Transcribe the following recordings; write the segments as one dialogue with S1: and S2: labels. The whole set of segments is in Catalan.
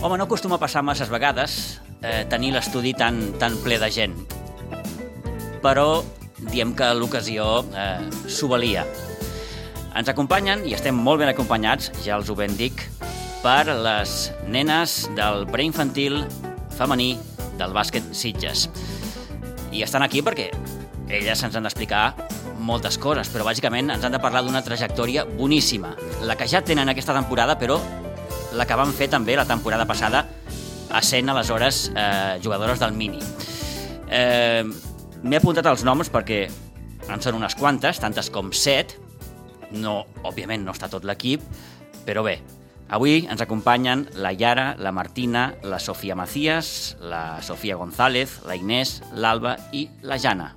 S1: com no acostuma a passar masses vegades, eh, tenir l'estudi tan, tan ple de gent. Però diem que l'ocasió eh, s'ho valia. Ens acompanyen, i estem molt ben acompanyats, ja els ho ben dic, per les nenes del preinfantil femení del bàsquet Sitges. I estan aquí perquè elles ens han d'explicar moltes coses, però bàsicament ens han de parlar d'una trajectòria boníssima, la que ja tenen aquesta temporada, però la que van fer també la temporada passada, essent aleshores eh, jugadores del mini. Eh, M'he apuntat els noms perquè en són unes quantes, tantes com set. No, òbviament, no està tot l'equip, però bé, avui ens acompanyen la Yara, la Martina, la Sofia Macías, la Sofia González, la Inés, l'Alba i la Jana.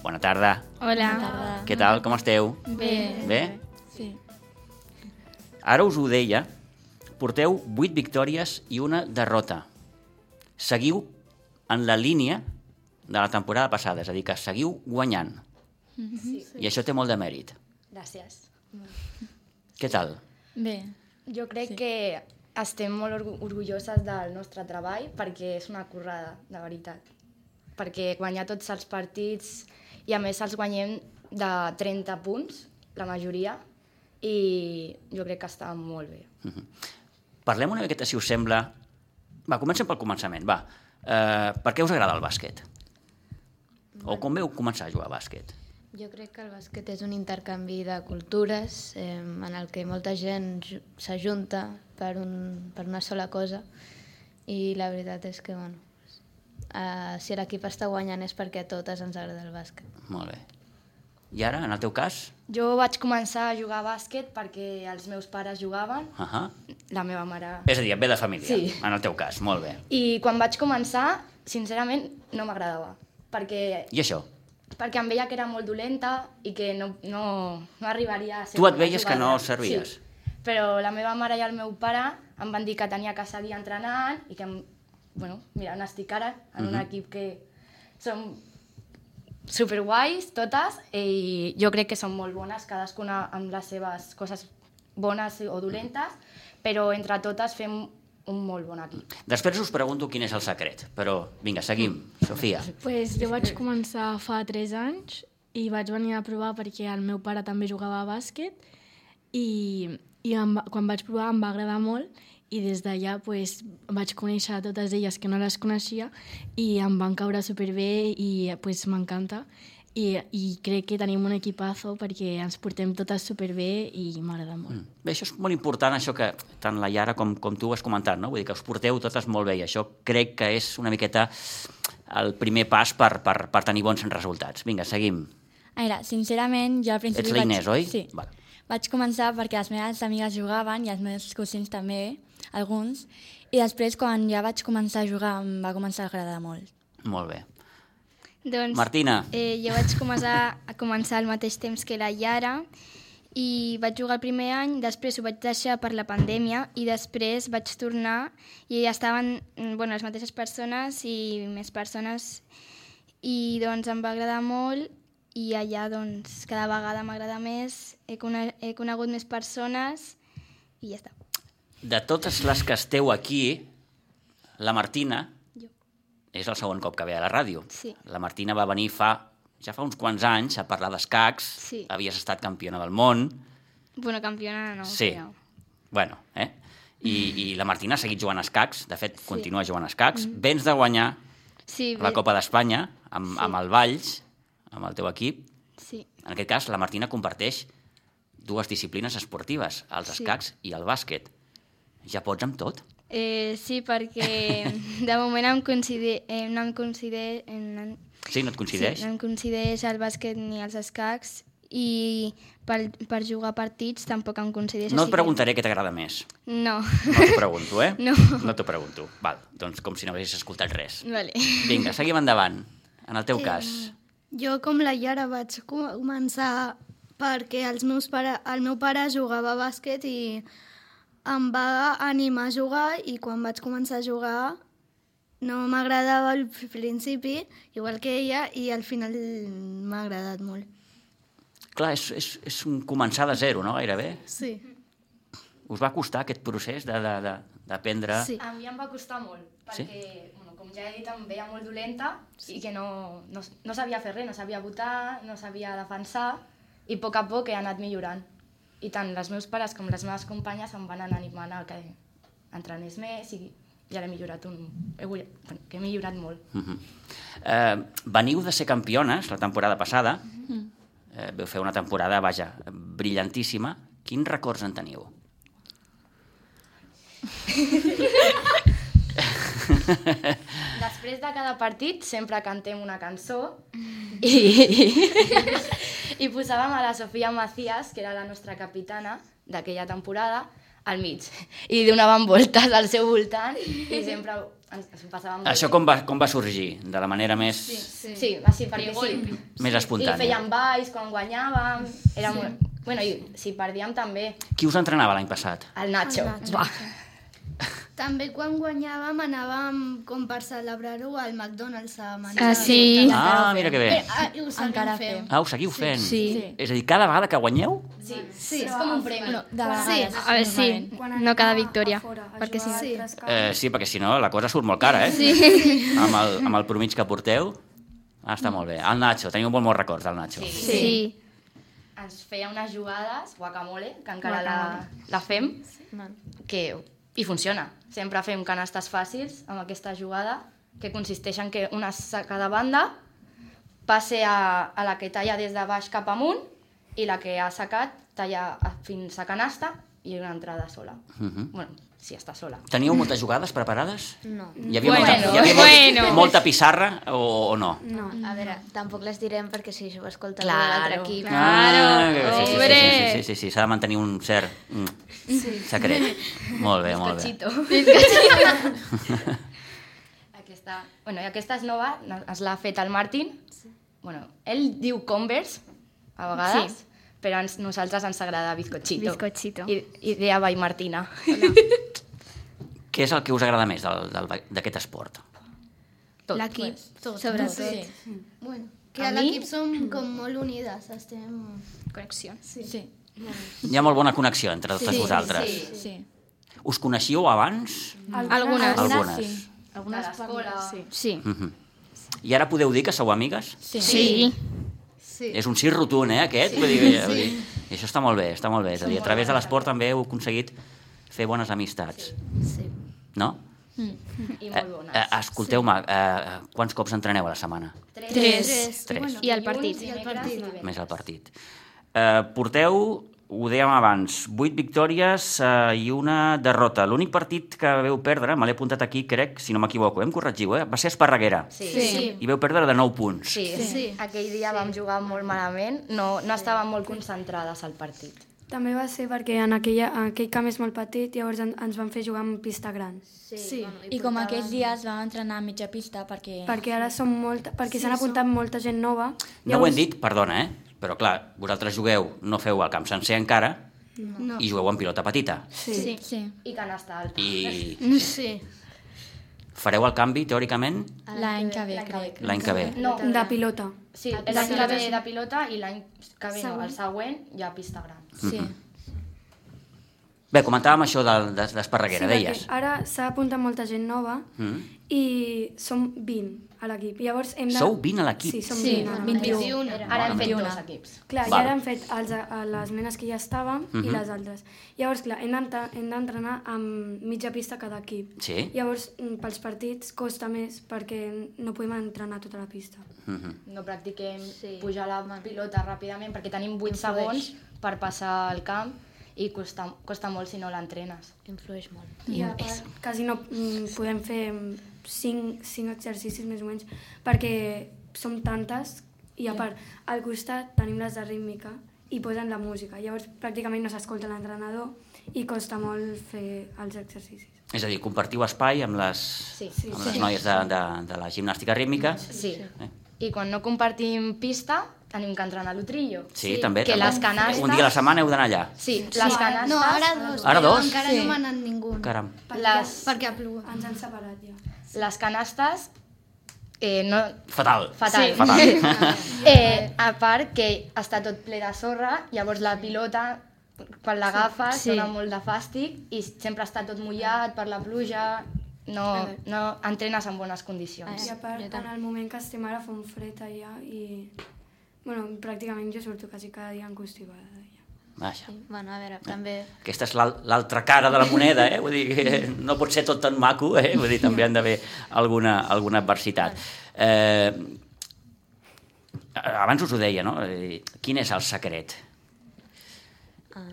S1: Bona tarda.
S2: Hola.
S1: Què tal? Com esteu?
S2: Bé.
S1: Bé?
S2: Sí.
S1: Ara us ho deia, porteu 8 victòries i una derrota. Seguiu en la línia de la temporada passada, és a dir, que seguiu guanyant. I això té molt de mèrit.
S3: Gràcies.
S1: Què tal?
S2: Bé.
S3: Jo crec sí. que estem molt orgu- orgulloses del nostre treball perquè és una currada, de veritat. Perquè guanyar tots els partits i a més els guanyem de 30 punts, la majoria, i jo crec que està molt bé.
S1: Parlem una miqueta, si us sembla... Va, comencem pel començament, va. Uh, per què us agrada el bàsquet? O com veu començar a jugar a bàsquet?
S4: Jo crec que el bàsquet és un intercanvi de cultures eh, en el que molta gent ju- s'ajunta per, un, per una sola cosa i la veritat és que, bueno, eh, si l'equip està guanyant és perquè a totes ens agrada el bàsquet.
S1: Molt bé. I ara, en el teu cas?
S3: Jo vaig començar a jugar a bàsquet perquè els meus pares jugaven,
S1: Uh -huh.
S3: la meva mare...
S1: És a dir, et ve de família,
S3: Sí.
S1: en el teu cas, molt bé.
S3: I quan vaig començar, sincerament, no m'agradava. Perquè
S1: I això?
S3: perquè em veia que era molt dolenta i que no, no, no arribaria a ser...
S1: Tu et
S3: bona
S1: veies que
S3: jugadora.
S1: no servies?
S3: Sí. Però la meva mare i el meu pare em van dir que tenia que seguir entrenant i que, em, bueno, mira, on estic ara, en uh
S1: Mhm.
S3: -huh. un equip que som superguais totes eh, i jo crec que són molt bones, cadascuna amb les seves coses bones o dolentes, però entre totes fem un molt bon equip.
S1: Després us pregunto quin és el secret, però vinga, seguim. Sofia,
S5: Pues jo vaig començar fa 3 anys i vaig venir a provar perquè el meu pare també jugava a bàsquet i, i em, va- quan vaig provar em va agradar molt i des d'allà pues, vaig conèixer a totes elles que no les coneixia i em van caure superbé i pues, m'encanta I, i crec que tenim un equipazo perquè ens portem totes superbé i m'agrada molt. Mm.
S1: bé, això és molt important, això que tant la Yara com, com tu ho has comentat, no? Vull dir que us porteu totes molt bé i això crec que és una miqueta el primer pas per, per, per tenir bons resultats. Vinga, seguim.
S6: A veure, sincerament, jo al principi...
S1: Ets la
S6: vaig-
S1: Inés, oi?
S6: Sí.
S1: Val.
S6: Vaig començar perquè les meves amigues jugaven i els meus cosins també, alguns, i després quan ja vaig començar a jugar em va començar a agradar molt.
S1: Molt bé.
S2: Doncs,
S1: Martina.
S2: Eh, jo vaig començar a començar al mateix temps que la Yara i vaig jugar el primer any, després ho vaig deixar per la pandèmia i després vaig tornar i ja estaven mm, bueno, les mateixes persones i més persones i doncs em va agradar molt i allà doncs cada vegada m'agrada més, he, cone he conegut més persones i ja està.
S1: De totes les que esteu aquí, la Martina és el segon cop que ve a la ràdio.
S2: Sí.
S1: La Martina va venir fa ja fa uns quants anys a parlar d'escacs,
S2: Sí. Oh,
S1: havies estat campiona del món,
S2: Bueno, campiona no,
S1: Sí.
S2: però...
S1: Bueno, eh? I, I la Martina ha seguit jugant a escacs, de fet, continua jugant a escacs. Vens de guanyar
S2: Sí,
S1: la
S2: ve-
S1: Copa d'Espanya amb, amb el Valls, amb el teu equip.
S2: Sí,
S1: En aquest cas, la Martina comparteix dues disciplines esportives, els
S2: Sí.
S1: escacs i el bàsquet. Ja pots amb tot?
S2: Eh, sí, perquè de moment em consider, eh, no em consider, eh, no, em-
S1: Sí, no et coincideix?
S2: Sí, no em coincideix el bàsquet ni els escacs i per, per jugar a partits tampoc em coincideix.
S1: no
S2: així
S1: et
S2: que-
S1: preguntaré què t'agrada més.
S2: No.
S1: No t'ho pregunto, eh?
S2: No.
S1: No t'ho pregunto. Val, doncs com si no haguessis escoltat res.
S2: vale.
S1: Vinga, seguim endavant. En el teu cas.
S7: Jo, com la Yara, vaig començar perquè els meus pare, el meu pare jugava a bàsquet i em va animar a jugar i quan vaig començar a jugar no m'agradava al principi, igual que ella, i al final m'ha agradat molt.
S1: Clar, és, és, és un començar de zero, no? Gairebé.
S7: Sí.
S1: Us va costar aquest procés de, de, de, d'aprendre...
S7: Sí.
S3: A mi em va costar molt,
S1: Sí?
S3: perquè, bueno, com ja he dit, em veia molt dolenta i que no, no, no sabia fer res, no sabia votar, no sabia defensar, i a poc a poc he anat millorant. I tant les meus pares com les meves companyes em van anar animant a que entrenés més i ja l'he millorat un... He, guany- bueno, que he millorat molt.
S1: Mhm. Eh, veniu de ser campiones la temporada passada. Eh, veu fer una temporada, vaja, brillantíssima. Quins records en teniu?
S3: Després de cada partit sempre cantem una cançó i, i posàvem a la Sofia Macías, que era la nostra capitana d'aquella temporada, al mig. I donàvem voltes al seu voltant i sempre ens, ens ho passàvem
S1: Això com va, com va sorgir? De la manera més... Sí.
S3: Sí, sí així perquè sí.
S1: Més espontània.
S3: I fèiem balls quan guanyàvem. Era sí. molt... Bueno, i si perdíem també,
S1: Qui us entrenava l'any passat?
S3: el Nacho.
S7: El Nacho.
S3: Buah.
S7: També quan guanyàvem anàvem com per celebrar-ho al McDonald's a menjar.
S2: Ah, sí.
S1: Ah, mira que bé.
S3: Eh,
S7: Però, ah, i ho encara
S6: Encara
S7: fem.
S1: Ah, ho seguiu fent?
S6: Sí.
S1: És a dir, cada vegada que guanyeu?
S3: Sí, sí, és com un premi.
S6: No, de
S2: Sí,
S6: vegades.
S2: a veure, sí, no cada victòria, perquè sí.
S7: Sí.
S1: Eh, sí, perquè si no la cosa surt molt cara, eh?
S2: Sí.
S1: Amb el, amb el promig que porteu. Ah, està molt bé. El Nacho, teniu molt bons records del Nacho.
S3: Sí.
S2: Sí. sí.
S3: Ens feia unes jugades, guacamole, que encara la, la fem,
S4: Man.
S3: que, i funciona. Sempre fem canastes fàcils amb aquesta jugada, que consisteix en que una saca de banda, passe a, a la que talla des de baix cap amunt, i la que ha sacat talla a- fins a canasta i una entrada sola.
S1: Mhm.
S3: Bueno, si està sola.
S1: Teníeu moltes jugades preparades?
S4: No.
S1: Hi havia,
S2: Bueno,
S1: molta, hi havia
S2: bueno.
S1: molta, molta pissarra o, o no?
S4: No, a veure, tampoc les direm perquè si ho escolta
S3: Claro,
S4: l'altre equip...
S2: claro. Claro,
S1: Ah, sí, sí,
S2: hombre.
S1: Sí, sí, sí, sí, sí, s'ha de mantenir un cert mm, secret. Molt bé, molt bé.
S3: Cachito. aquesta, bueno, i aquesta és nova, no- ens l'ha fet el Martin. Sí. Bueno, ell diu Converse, a vegades, sí. però ens, nosaltres ens agrada Bizcochito.
S2: Bizcochito.
S3: I, idea by Martina.
S1: Què és el que us agrada més del- del- d'aquest esport?
S3: Tot.
S7: L'equip, tot,
S2: Sobretot.
S7: tot.
S6: Sí.
S7: Bueno, que
S3: A
S7: a
S3: mi-
S7: l'equip som com molt unides, estem...
S2: Connexions.
S6: Sí. Sí.
S1: Hi ha molt bona connexió entre totes vosaltres.
S6: sí. sí.
S1: Us coneixíeu abans?
S2: Algunes.
S1: Algunes.
S6: sí.
S3: Algunes escola. Sí.
S2: Sí.
S1: Mhm. I ara podeu dir que sou amigues?
S6: Sí.
S2: Sí.
S7: Sí.
S1: És un sí rotund, eh, aquest? Vull dir, que- vull dir, I això està molt bé, està molt bé. És a dir, a través de l'esport també heu aconseguit fer bones amistats,
S7: Sí.
S1: no?
S3: I
S1: Eh,
S3: molt bones.
S1: eh, Escolteu-me, eh, quants cops entreneu a la setmana?
S3: Tres.
S2: Tres.
S1: Tres.
S2: I el partit.
S3: I el partit.
S1: més el partit. Eh, porteu, ho dèiem abans, 8 victòries eh, i una derrota. L'únic partit que veu perdre, me l'he apuntat aquí, crec, si no m'equivoco, eh, em corregiu, eh? va ser Esparreguera.
S3: Sí.
S7: Sí.
S3: Sí.
S1: I veu perdre de 9 punts.
S3: Sí. sí. Aquell dia sí. vam jugar molt malament, no, no estàvem molt concentrades al partit.
S8: També va ser perquè en, aquella, en aquell camp és molt petit, llavors en, ens van fer jugar en pista gran.
S4: Sí. sí. Bueno,
S6: I com aquells dies vam entrenar a mitja pista perquè...
S8: Perquè ara són molt... Perquè s'han apuntat molta gent nova.
S1: No ho hem dit, perdona, eh? però clar, vosaltres jugueu, no feu el camp sencer encara,
S7: No.
S1: i jugueu amb pilota petita.
S8: Sí. sí.
S6: Sí.
S3: I canasta alta.
S1: I
S7: Sí.
S1: fareu el canvi, teòricament,
S6: L'any que ve, crec.
S1: l'any que ve.
S3: No,
S8: De pilota.
S3: Sí, l'any que ve de pilota i l'any que ve, no, el següent, ja pista gran.
S6: Sí.
S1: Bé, comentàvem això de- de- d'Esparreguera,
S8: perquè
S1: deies.
S8: Ara s'ha apuntat molta gent nova
S1: Mm.
S8: i som 20 a l'equip. Llavors hem de...
S1: Sou 20 a l'equip?
S8: Sí, som
S6: Sí,
S8: 20. ara.
S7: 21.
S3: Ara hem fet
S6: Bueno,
S3: dos
S6: bueno.
S3: equips.
S1: Val.
S8: Clar,
S1: Mhm.
S8: i ara hem fet els, a- les nenes que ja estàvem i les altres. Llavors, clar, hem d'entre- hem d'entrenar amb mitja pista cada equip.
S1: Sí.
S8: Llavors, mm, pels partits costa més perquè no podem entrenar tota la pista.
S1: Mhm.
S3: No practiquem sí. pujar la pilota ràpidament perquè tenim 8 segons per passar al camp i costa, costa molt si no l'entrenes.
S4: Influeix molt.
S8: I a part, quasi no mm, podem fer 5, 5 exercicis més o menys perquè som tantes i a part, al costat tenim les de rítmica i posen la música. Llavors, pràcticament no s'escolta l'entrenador i costa molt fer els exercicis.
S1: És a dir, compartiu espai amb les,
S3: Sí, sí,
S1: amb les noies de, de, de la gimnàstica rítmica. Eh? Sí,
S3: Sí. I quan no compartim pista, tenim que entrenar a l'utrillo.
S1: també.
S3: Que
S1: també.
S3: les canastes...
S1: Un dia a la setmana heu d'anar allà.
S3: Sí, les canastes...
S7: No, ara dos.
S1: Ara
S7: però
S1: dos?
S7: Encara
S6: Sí.
S7: no m'ha anat ningú.
S1: Caram.
S3: Les,
S7: Perquè ha plogut.
S8: Ens han separat ja.
S3: les canastes eh, no,
S1: Fatal.
S3: Fatal.
S1: Sí. Fatal.
S3: eh, a part que està tot ple de sorra, llavors la pilota quan l'agafes sí.
S2: Sí.
S3: sona molt de fàstic i sempre està tot mullat per la pluja, no, no entrenes en bones
S8: I
S3: condicions.
S8: a part, en el moment que estem ara fa un fred allà i... Bueno, pràcticament jo surto quasi cada dia encostipada d'allà.
S1: Vaja.
S4: Bueno, a veure, també...
S1: Aquesta és l'al- l'altra cara de la moneda, eh? Vull dir, que no pot ser tot tan maco, eh? Vull dir, també han d'haver alguna, alguna adversitat. Eh, abans us ho deia, no? Eh, Quin és el secret?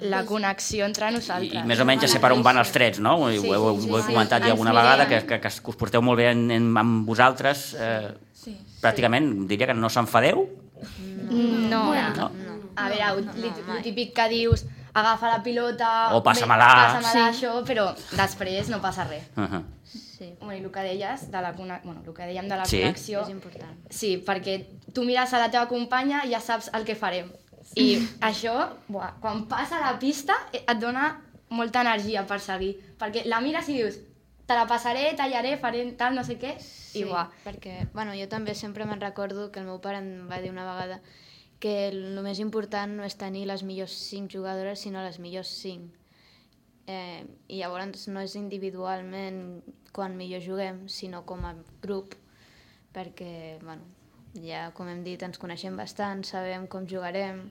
S3: La connexió entre
S1: I,
S3: nosaltres.
S1: I més o menys ja sé per on van els trets, no? Sí,
S3: Sí,
S1: ho, heu,
S3: sí,
S1: ho he
S3: sí,
S1: comentat
S3: sí.
S1: ja alguna
S3: Ens
S1: vegada, que,
S3: mirem.
S1: que, que us porteu molt bé en, en, amb vosaltres. Eh,
S6: Sí.
S1: pràcticament diria que no s'enfadeu.
S3: No,
S2: Bueno,
S3: no. A veure, el, el típic que dius agafa la pilota...
S1: O passa-me-la.
S3: Passa-me la,
S2: Sí.
S3: això, però després no passa res.
S1: Uh -huh.
S4: Sí,
S3: Bueno, i el que deies, de la, conne- bueno, el que dèiem de la
S1: Sí.
S3: connexió...
S4: és important.
S3: Sí, perquè tu mires a la teva companya i ja saps el que farem. I això, buah, quan passa a la pista, eh, et dona molta energia per seguir. Perquè la mires i dius, te la passaré, tallaré, faré tal, no sé què,
S4: Sí,
S3: i buah.
S4: perquè, bueno, jo també sempre me'n recordo que el meu pare em va dir una vegada que el més important no és tenir les millors 5 jugadores, sinó les millors 5. Eh, I llavors no és individualment quan millor juguem, sinó com a grup, perquè, bueno, ja, com hem dit, ens coneixem bastant, sabem com jugarem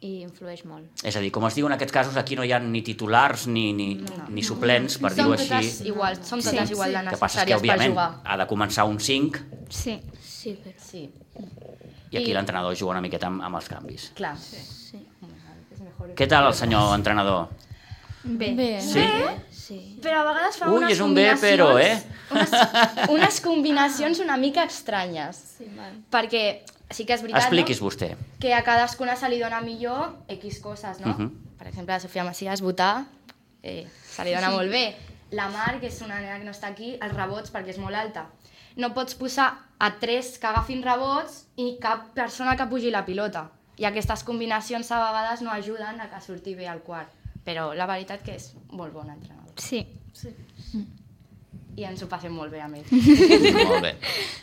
S4: i influeix molt.
S1: És a dir, com es diu en aquests casos, aquí no hi ha ni titulars ni, ni, no. ni suplents, per
S3: Són
S1: dir-ho així.
S3: totes iguals, són totes
S2: Sí,
S3: igual de
S1: que passa és que,
S3: necessàries per
S1: òbviament,
S3: jugar.
S1: ha de començar un 5
S2: Sí.
S4: Sí, però...
S3: Sí,
S1: i aquí
S3: I-
S1: l'entrenador juga una miqueta amb, amb els canvis.
S3: clar.
S4: Sí,
S1: Què tal el senyor entrenador?
S2: Bé.
S6: Bé.
S1: Sí?
S4: sí.
S3: Però a vegades fa
S1: Ui,
S3: unes
S1: és un bé, però, eh?
S3: Unes, unes combinacions una mica estranyes.
S4: sí mal.
S3: Perquè sí que és veritat,
S1: Expliquis
S3: no?
S1: vostè.
S3: que a cadascuna se li dona millor X coses, no? Uh
S1: Mhm.
S3: -huh. Per exemple, a Sofia Macías votar eh, se li dona molt bé. La Mar, que és una nena que no està aquí, els rebots, perquè és molt alta. No pots posar a tres que agafin rebots i cap persona que pugi la pilota. I aquestes combinacions a vegades no ajuden a que surti bé el quart. Però la veritat que és molt bon entrenador.
S2: Sí.
S3: I ens ho passem molt bé amb ell.
S1: Molt bé.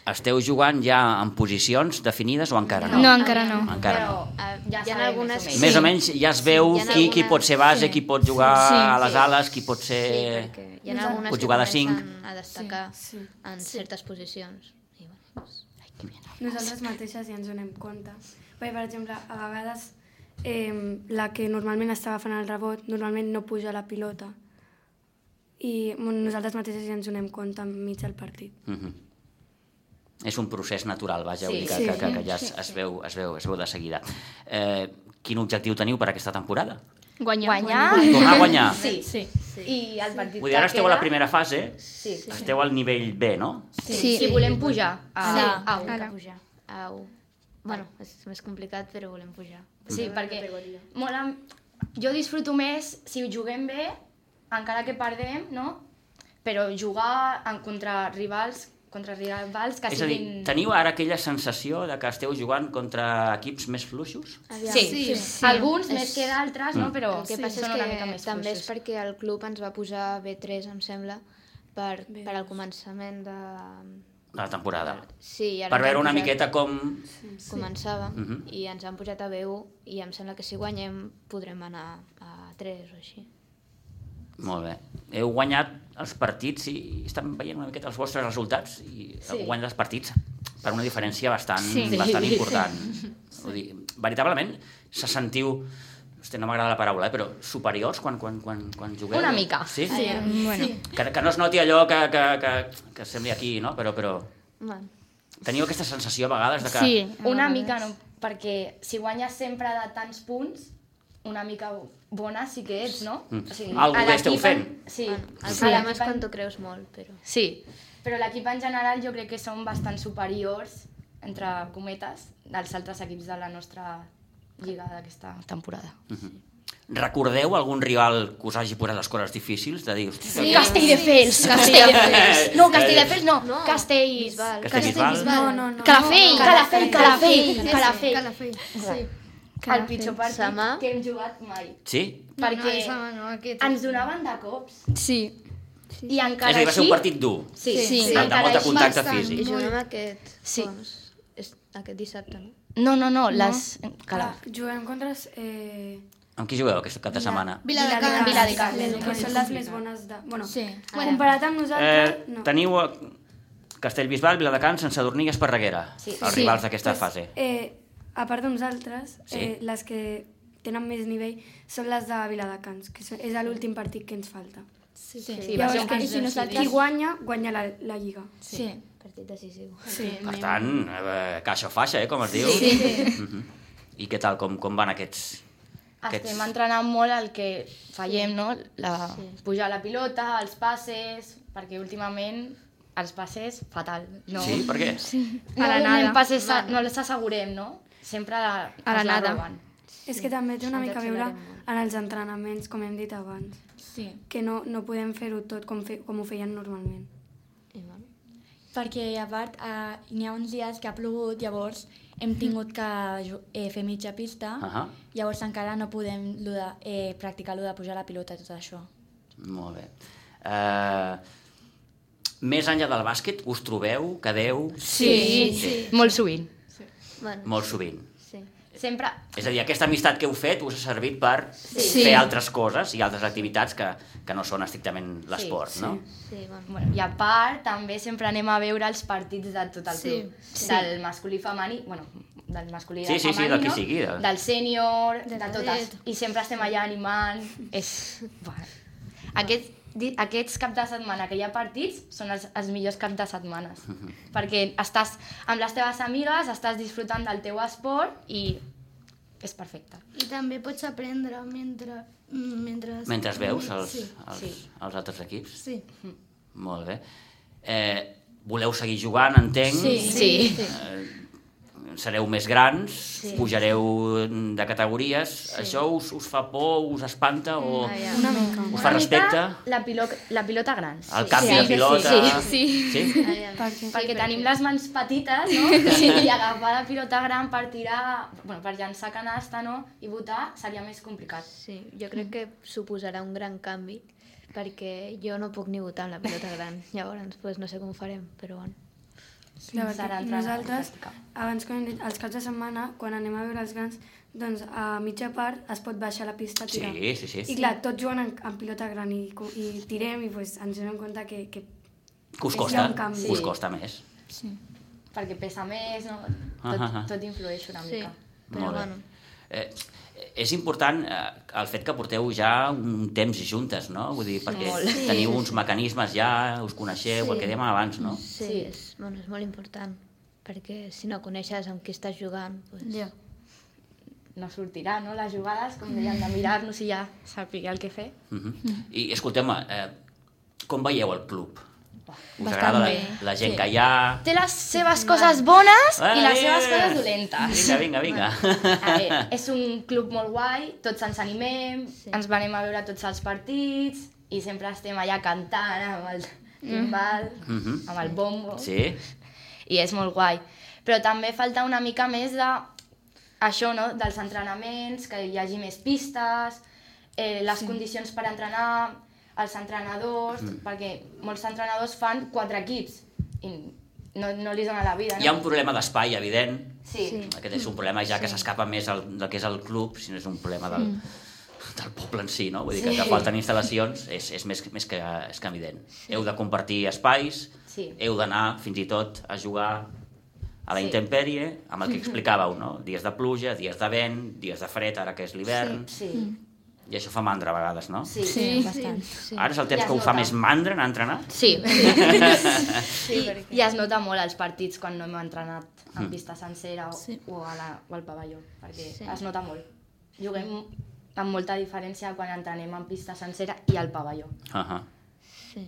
S1: Esteu jugant ja en posicions definides o encara no?
S2: No, encara no.
S1: Encara no.
S4: Ah,
S3: eh, ja
S4: hi ha
S3: sabem
S4: algunes
S3: més o menys.
S1: Més o menys ja es veu
S4: hi ha
S1: qui, qui
S4: algunes-
S1: pot ser base,
S6: sí.
S1: qui pot jugar
S2: Sí,
S1: a les
S3: sí.
S1: ales, qui pot ser...
S4: Sí, perquè hi ha algunes
S1: Pot
S4: que
S1: jugar de cinc.
S4: comencen a destacar sí, sí. en certes posicions. I, bueno, doncs,
S8: Nosaltres mateixes ja ens donem compte. Perquè, per exemple, a vegades eh, la que normalment està agafant el rebot normalment no puja la pilota. I bueno, nosaltres mateixes ja ens donem compte enmig del partit.
S1: Mhm. És un procés natural, vaja,
S3: Sí.
S1: vull dir que,
S8: Sí.
S1: que, que, que ja es, es, veu, es, veu, es veu de seguida. Eh, quin objectiu teniu per aquesta temporada?
S2: Guanyar.
S3: Guanyar.
S1: Tornar a guanyar?
S3: Sí. sí.
S4: Sí.
S3: I el partit
S1: Vull dir, ara
S3: que
S1: esteu a
S3: queda...
S1: la primera fase,
S3: Sí. sí.
S1: esteu al nivell B, no?
S3: sí. Si volem pujar a,
S6: Sí.
S3: a, un.
S4: ara. pujar. Au. Bueno, és més complicat, però volem pujar.
S3: Sí, perquè mola... jo disfruto més si juguem bé, encara que perdem, no? Però jugar en contra rivals, contra rivals que
S1: És a dir,
S3: siguin...
S1: teniu ara aquella sensació de que esteu jugant contra equips més fluixos?
S4: Aviam.
S3: Sí, sí. sí. alguns
S4: És-
S3: més que d'altres,
S1: Mm.
S3: no? Però
S4: El que passa
S3: són
S4: és
S3: una
S4: que
S3: mica més
S4: també és
S3: fluixos.
S4: perquè el club ens va posar B3, em sembla, per, per al començament de...
S1: de la temporada.
S4: Sí, i ara
S1: Per
S4: ens
S1: veure
S4: han
S1: una
S4: posat-
S1: miqueta com...
S4: Començàvem
S1: Mhm.
S4: i ens han pujat a B1 i em sembla que si guanyem podrem anar a 3 o així.
S1: Molt bé. Heu guanyat els partits i estan veient una miqueta els vostres resultats i sí. guany dels partits per una diferència bastant, sí. bastant important. Sí. Vull dir, veritablement, se sentiu... Hosti, no m'agrada la paraula, eh, però superiors quan, quan, quan, quan jugueu?
S3: Una mica.
S1: Sí?
S2: Sí. Bueno.
S1: Que, que no es noti allò que, que, que, que sembli aquí, no? Però, però
S4: Bueno,
S1: teniu aquesta sensació a vegades de que...
S2: Sí.
S3: Una mica no, perquè si guanyes sempre de tants punts, una mica bona sí que ets, no?
S1: Mm. Algú
S3: a
S1: bé esteu
S3: l'equip
S1: fent.
S3: en- Sí.
S4: bueno, el problema
S3: a
S4: és
S3: l'equip en-
S4: quan t'ho creus molt, però...
S3: Sí, però l'equip en general jo crec que són bastant superiors, entre cometes, dels altres equips de la nostra lliga d'aquesta temporada.
S1: Recordeu algun rival que us hagi posat les coses difícils? De dir, hosti,
S3: Sí, Castelldefels! Castelldefels! No, Castelldefels no! no. Castells!
S1: Castellbisbal.
S8: No, no, no.
S3: Calafell! Calafell! Calafell! Calafell!
S7: Calafell.
S3: El pitjor partit
S4: Samà.
S3: que hem jugat mai.
S1: Sí?
S7: No,
S3: Perquè
S7: no, no, aquest...
S3: ens donaven de cops.
S2: Sí.
S1: És
S3: I
S1: a
S3: encara
S1: dir, va ser
S3: així...
S1: un partit dur.
S3: Sí,
S2: Sí.
S3: sí.
S2: Sí.
S1: de, de
S3: encara
S1: molt de
S3: així-
S1: contacte
S7: bastant.
S4: I
S1: físic.
S4: juguem aquest...
S3: Sí.
S4: doncs, és aquest dissabte, no?
S3: No, no, no, les... Cala.
S8: Clar, juguem contra els, eh,
S1: Amb qui jugueu aquesta cap de setmana?
S7: Viladecans.
S3: Viladecans.
S8: que són les més bones de... Bueno,
S6: Sí.
S8: comparat amb nosaltres,
S1: Eh,
S8: no.
S1: teniu eh, Castellbisbal, Viladecans, Sant Sadurní i Esparreguera, sí. els
S6: Sí.
S1: rivals d'aquesta
S8: Pues,
S1: fase.
S8: Eh, a part de nosaltres,
S1: Sí.
S8: sí. eh, les que tenen més nivell són les de Viladecans, que so- és l'últim partit que ens falta.
S6: Sí, Ah, sí.
S4: Sí,
S6: Llavors,
S8: Llavors,
S6: que si
S8: Qui
S6: nosaltres...
S8: guanya, guanya la, la Lliga.
S6: Sí.
S4: Partit decisiu.
S8: Sí.
S1: Per tant, eh, caixa o faixa, eh, com es diu. Mhm.
S6: Sí.
S1: I què tal, com, com van aquests... aquests...
S3: Estem entrenant molt el que fallem, no? La, Pujar la pilota, els passes, perquè últimament els passes, fatal. No,
S1: Sí, per què? Sí.
S3: no,
S2: A la
S3: donem
S2: nada.
S3: passes, a, no les assegurem, no? Sempre la,
S2: A la
S3: ens
S2: nada.
S3: roben.
S8: És que també té una mica a veure en els entrenaments, com hem dit abans,
S6: sí.
S8: que no, no podem fer-ho tot com, fe, com ho feien normalment.
S4: I bueno,
S6: Perquè, a part, eh, n'hi ha uns dies que ha plogut, llavors hem tingut que ju- eh, fer mitja pista,
S1: Ahà.
S6: llavors encara no podem lo de, eh, practicar lo de pujar la pilota i tot això.
S1: Molt bé. Eh, més enllà del bàsquet, us trobeu, quedeu...
S3: Sí, sí. Molt sovint.
S4: bueno
S1: Molt sovint.
S4: sí.
S3: Sempre
S1: És a dir, aquesta amistat que heu fet us ha servit per sí. fer altres coses i altres activitats que, que no són estrictament l'esport, sí, sí. no?
S4: Sí, bueno.
S3: Bueno, I a part, també sempre anem a veure els partits de tot el
S7: Sí,
S3: club. Sí. Del masculí femení, bueno, del masculí i
S1: Sí,
S3: del
S1: sí, sí,
S3: femení,
S1: del que
S3: no?
S1: sigui, del-
S3: Del sènior, de,
S7: De
S3: de
S7: tot.
S3: totes. I sempre estem allà animant. És... Bueno. Aquests, di- aquests cap de setmana que hi ha partits són els, els millors cap de setmanes. Perquè estàs amb les teves amigues, estàs disfrutant del teu esport i és perfecte.
S7: I també pots aprendre mentre... mm, mentre...
S1: Mentre veus els,
S7: Sí.
S1: els, els altres equips.
S7: sí.
S1: Molt bé. Eh, voleu seguir jugant, entenc? Eh,
S3: Sí. sí.
S1: Sereu més grans, sí. pujareu de categories. Sí. Això us, us fa por, us espanta o
S4: Ah, ja.
S8: Una mica.
S1: us Oh. fa respecte?
S3: La, pilo la pilota gran. Sí.
S1: El canvi sí, de pilota?
S2: Sí, sí.
S1: sí.
S4: Ah, ja.
S8: Perquè,
S3: perquè tenim les mans petites, no? Sí. I agafar la pilota gran per tirar, bueno, per llançar canasta, no? I votar seria més complicat.
S4: Sí, jo crec que suposarà un gran canvi perquè jo no puc ni votar amb la pilota gran. Llavors, pues, no sé com ho farem, però bueno.
S8: La
S3: Serà
S8: veritat,
S3: entrar a la
S8: nosaltres,
S3: pràctica.
S8: abans com hem dit, els caps de setmana, quan anem a veure els grans, doncs a mitja part es pot baixar la pista a tirar.
S1: Sí, sí, sí.
S8: I clar, tots juguen en, en pilota gran i, co- i tirem i pues, ens donem compte que, que
S1: Que us
S8: És
S1: costa,
S8: un canvi.
S1: us
S8: Sí.
S1: costa més.
S6: Sí.
S3: Perquè pesa més, no? Tot,
S1: Ah, ah, ah.
S3: tot influeix una
S4: Sí,
S3: mica.
S4: però
S1: Molt bé.
S4: bueno.
S1: Eh, és important eh, el fet que porteu ja un temps juntes, no? Vull dir, perquè
S3: Molt.
S1: teniu uns mecanismes ja, us coneixeu, sí. el que dèiem abans, no?
S4: Sí,
S3: Sí.
S4: sí. És, bueno, és molt important perquè si no coneixes amb qui estàs jugant, pues,
S3: Ja. No sortirà, no? Les jugades, com dèiem, de mirar-nos i ja saber el que fer.
S1: Uh -huh. I escolteu-me, eh, com veieu el club? Us
S6: Bastant
S1: agrada la,
S6: bé.
S1: la gent sí. que hi ha?
S3: Té les seves coses bones i les
S1: Eh,
S3: seves
S1: eh,
S3: coses dolentes.
S1: Vinga, vinga, vinga.
S3: A veure, és un club molt guai, tots ens animem, sí. ens venem a veure tots els partits i sempre estem allà cantant amb el timbal,
S1: Mhm.
S3: amb el bombo,
S1: Sí?
S3: i és molt guai. Però també falta una mica més de això, no?, dels entrenaments, que hi hagi més pistes, eh, les sí. condicions per entrenar, els entrenadors, mm. perquè molts entrenadors fan quatre equips i no, no li dona la vida, no?
S1: Hi ha un problema d'espai, evident.
S3: Sí. sí. Mm.
S1: Aquest és un problema ja que s'escapa més el, del que és el club, si no és un problema del, del poble en si, no? Vull dir que, que falten instal·lacions és, és més, més que, és que evident. Heu de compartir espais,
S3: Sí.
S1: heu d'anar fins i tot a jugar a la
S3: Sí. Mm-hmm.
S1: intempèrie, amb el que explicàveu, no? Dies de pluja, dies de vent, dies de fred, ara que és l'hivern,
S3: Sí.
S1: i això fa mandra a vegades, no?
S3: Mm. Sí.
S6: Sí, bastant.
S1: Sí. Ara és el temps
S3: Ja es
S1: que ho fa
S3: nota.
S1: més mandra anar a entrenar?
S3: Sí. sí I, I es nota molt als partits quan no hem entrenat
S1: Hmm.
S3: en pista sencera o, sí. o, a la, o al pavelló, perquè sí. es nota molt. Juguem amb molta diferència quan entrenem en pista sencera i al pavelló.
S1: Uh -huh.
S4: sí.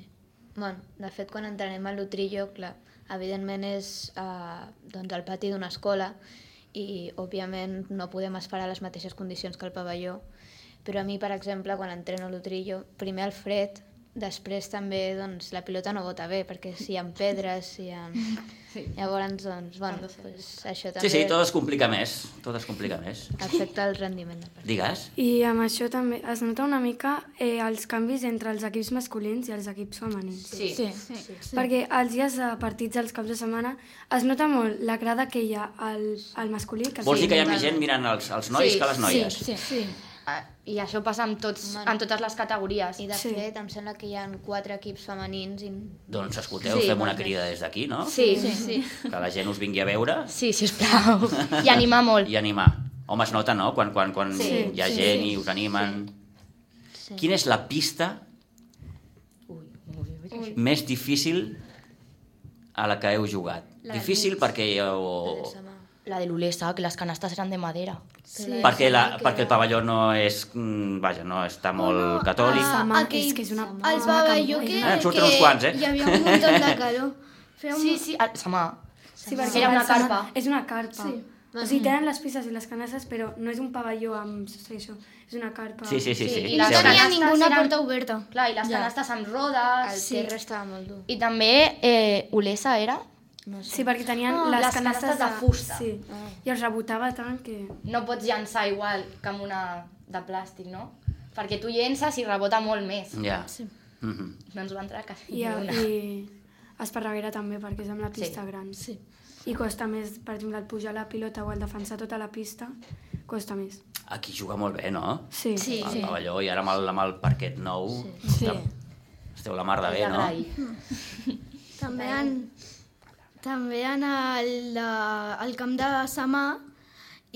S4: Bueno, de fet, quan entrenem a l'Utrillo, clar, evidentment és eh, doncs, el pati d'una escola i, òbviament, no podem esperar les mateixes condicions que el pavelló. Però a mi, per exemple, quan entreno a l'Utrillo, primer el fred, després també doncs, la pilota no vota bé, perquè si hi ha pedres, si hi ha... Sí. Llavors, doncs, bueno, pues, això també
S1: Sí, sí, tot es complica més, tot es complica més.
S4: afecta el rendiment del partit.
S1: Digues?
S8: I amb això també es nota una mica eh, els canvis entre els equips masculins i els equips femenins.
S3: Sí.
S6: Sí.
S8: Sí. Perquè els dies de partits dels caps de setmana es nota molt la grada que hi ha al, al masculí. Que
S1: Vols
S8: sí,
S1: dir que hi ha més gent mirant els, els nois
S3: Sí,
S1: que les noies?
S6: Sí, sí.
S3: Ah, I això passa amb, tots,
S4: Bueno.
S3: amb totes les categories.
S4: I de sí. fet, em sembla que hi ha quatre equips femenins i
S1: Doncs escolteu,
S3: Sí,
S1: fem una
S3: molt bé.
S1: crida des d'aquí, no?
S3: Sí, sí, sí.
S1: Que la gent us vingui a veure
S3: Sí, sisplau. I animar molt.
S1: i animar. Home, es nota, no?, quan, quan, quan
S3: Sí,
S1: hi ha
S3: sí,
S1: gent i us animen.
S4: Sí.
S1: Quina és la pista més difícil a la que heu jugat? difícil perquè... O...
S4: se m'ha-
S3: La de l'Ulesa, que les canastes eren de madera.
S4: Sí.
S1: Perquè, la, perquè el pavelló no és... mm, Vaja, no està molt catòlic.
S8: Ah,
S7: Ah,
S8: mà,
S7: aquell-
S8: és que és una...
S7: Els pavelló que,
S1: Ah, en surten
S7: que
S1: uns quants, eh?
S7: hi havia un munt de calor. Feia un...
S3: Sí, sí, a, Samà.
S8: Sí,
S3: perquè era una
S8: Barcelona
S3: carpa.
S8: És una carpa. Sí. O sigui, tenen les pistes i les canasses, però no és un pavelló amb sostre i això. És una carpa.
S1: Sí, sí, sí. sí,
S3: i
S1: sí.
S7: No
S3: la
S1: sembla.
S7: tenia
S3: Canastes
S7: ninguna
S3: eren-
S7: porta oberta.
S3: Clar, i les canastes amb
S4: El
S3: rodes.
S4: sí. terra estava molt dur.
S3: I també eh, Olesa era?
S4: No sé.
S8: Sí, perquè tenien
S3: Ah,
S8: les,
S3: les canastes de fusta. Ah.
S8: Sí. I els rebotava tant que...
S3: No pots llançar igual que amb una de plàstic, no? Perquè tu llences i rebota molt més.
S1: Ja. Mhm.
S3: No ens va entrar quasi ni
S8: I,
S3: una.
S8: i Esparreguera també, perquè és amb la pista sí. gran. Sí. I costa més, per exemple, el pujar la pilota o el defensar tota la pista, costa més.
S1: Aquí juga molt bé, no?
S8: Sí.
S1: Sí, el pavelló i ara amb el, amb el parquet nou. Sí. Esteu la mar de bé, no?
S3: Agrair.
S7: També en, també en el, de- al camp de Samà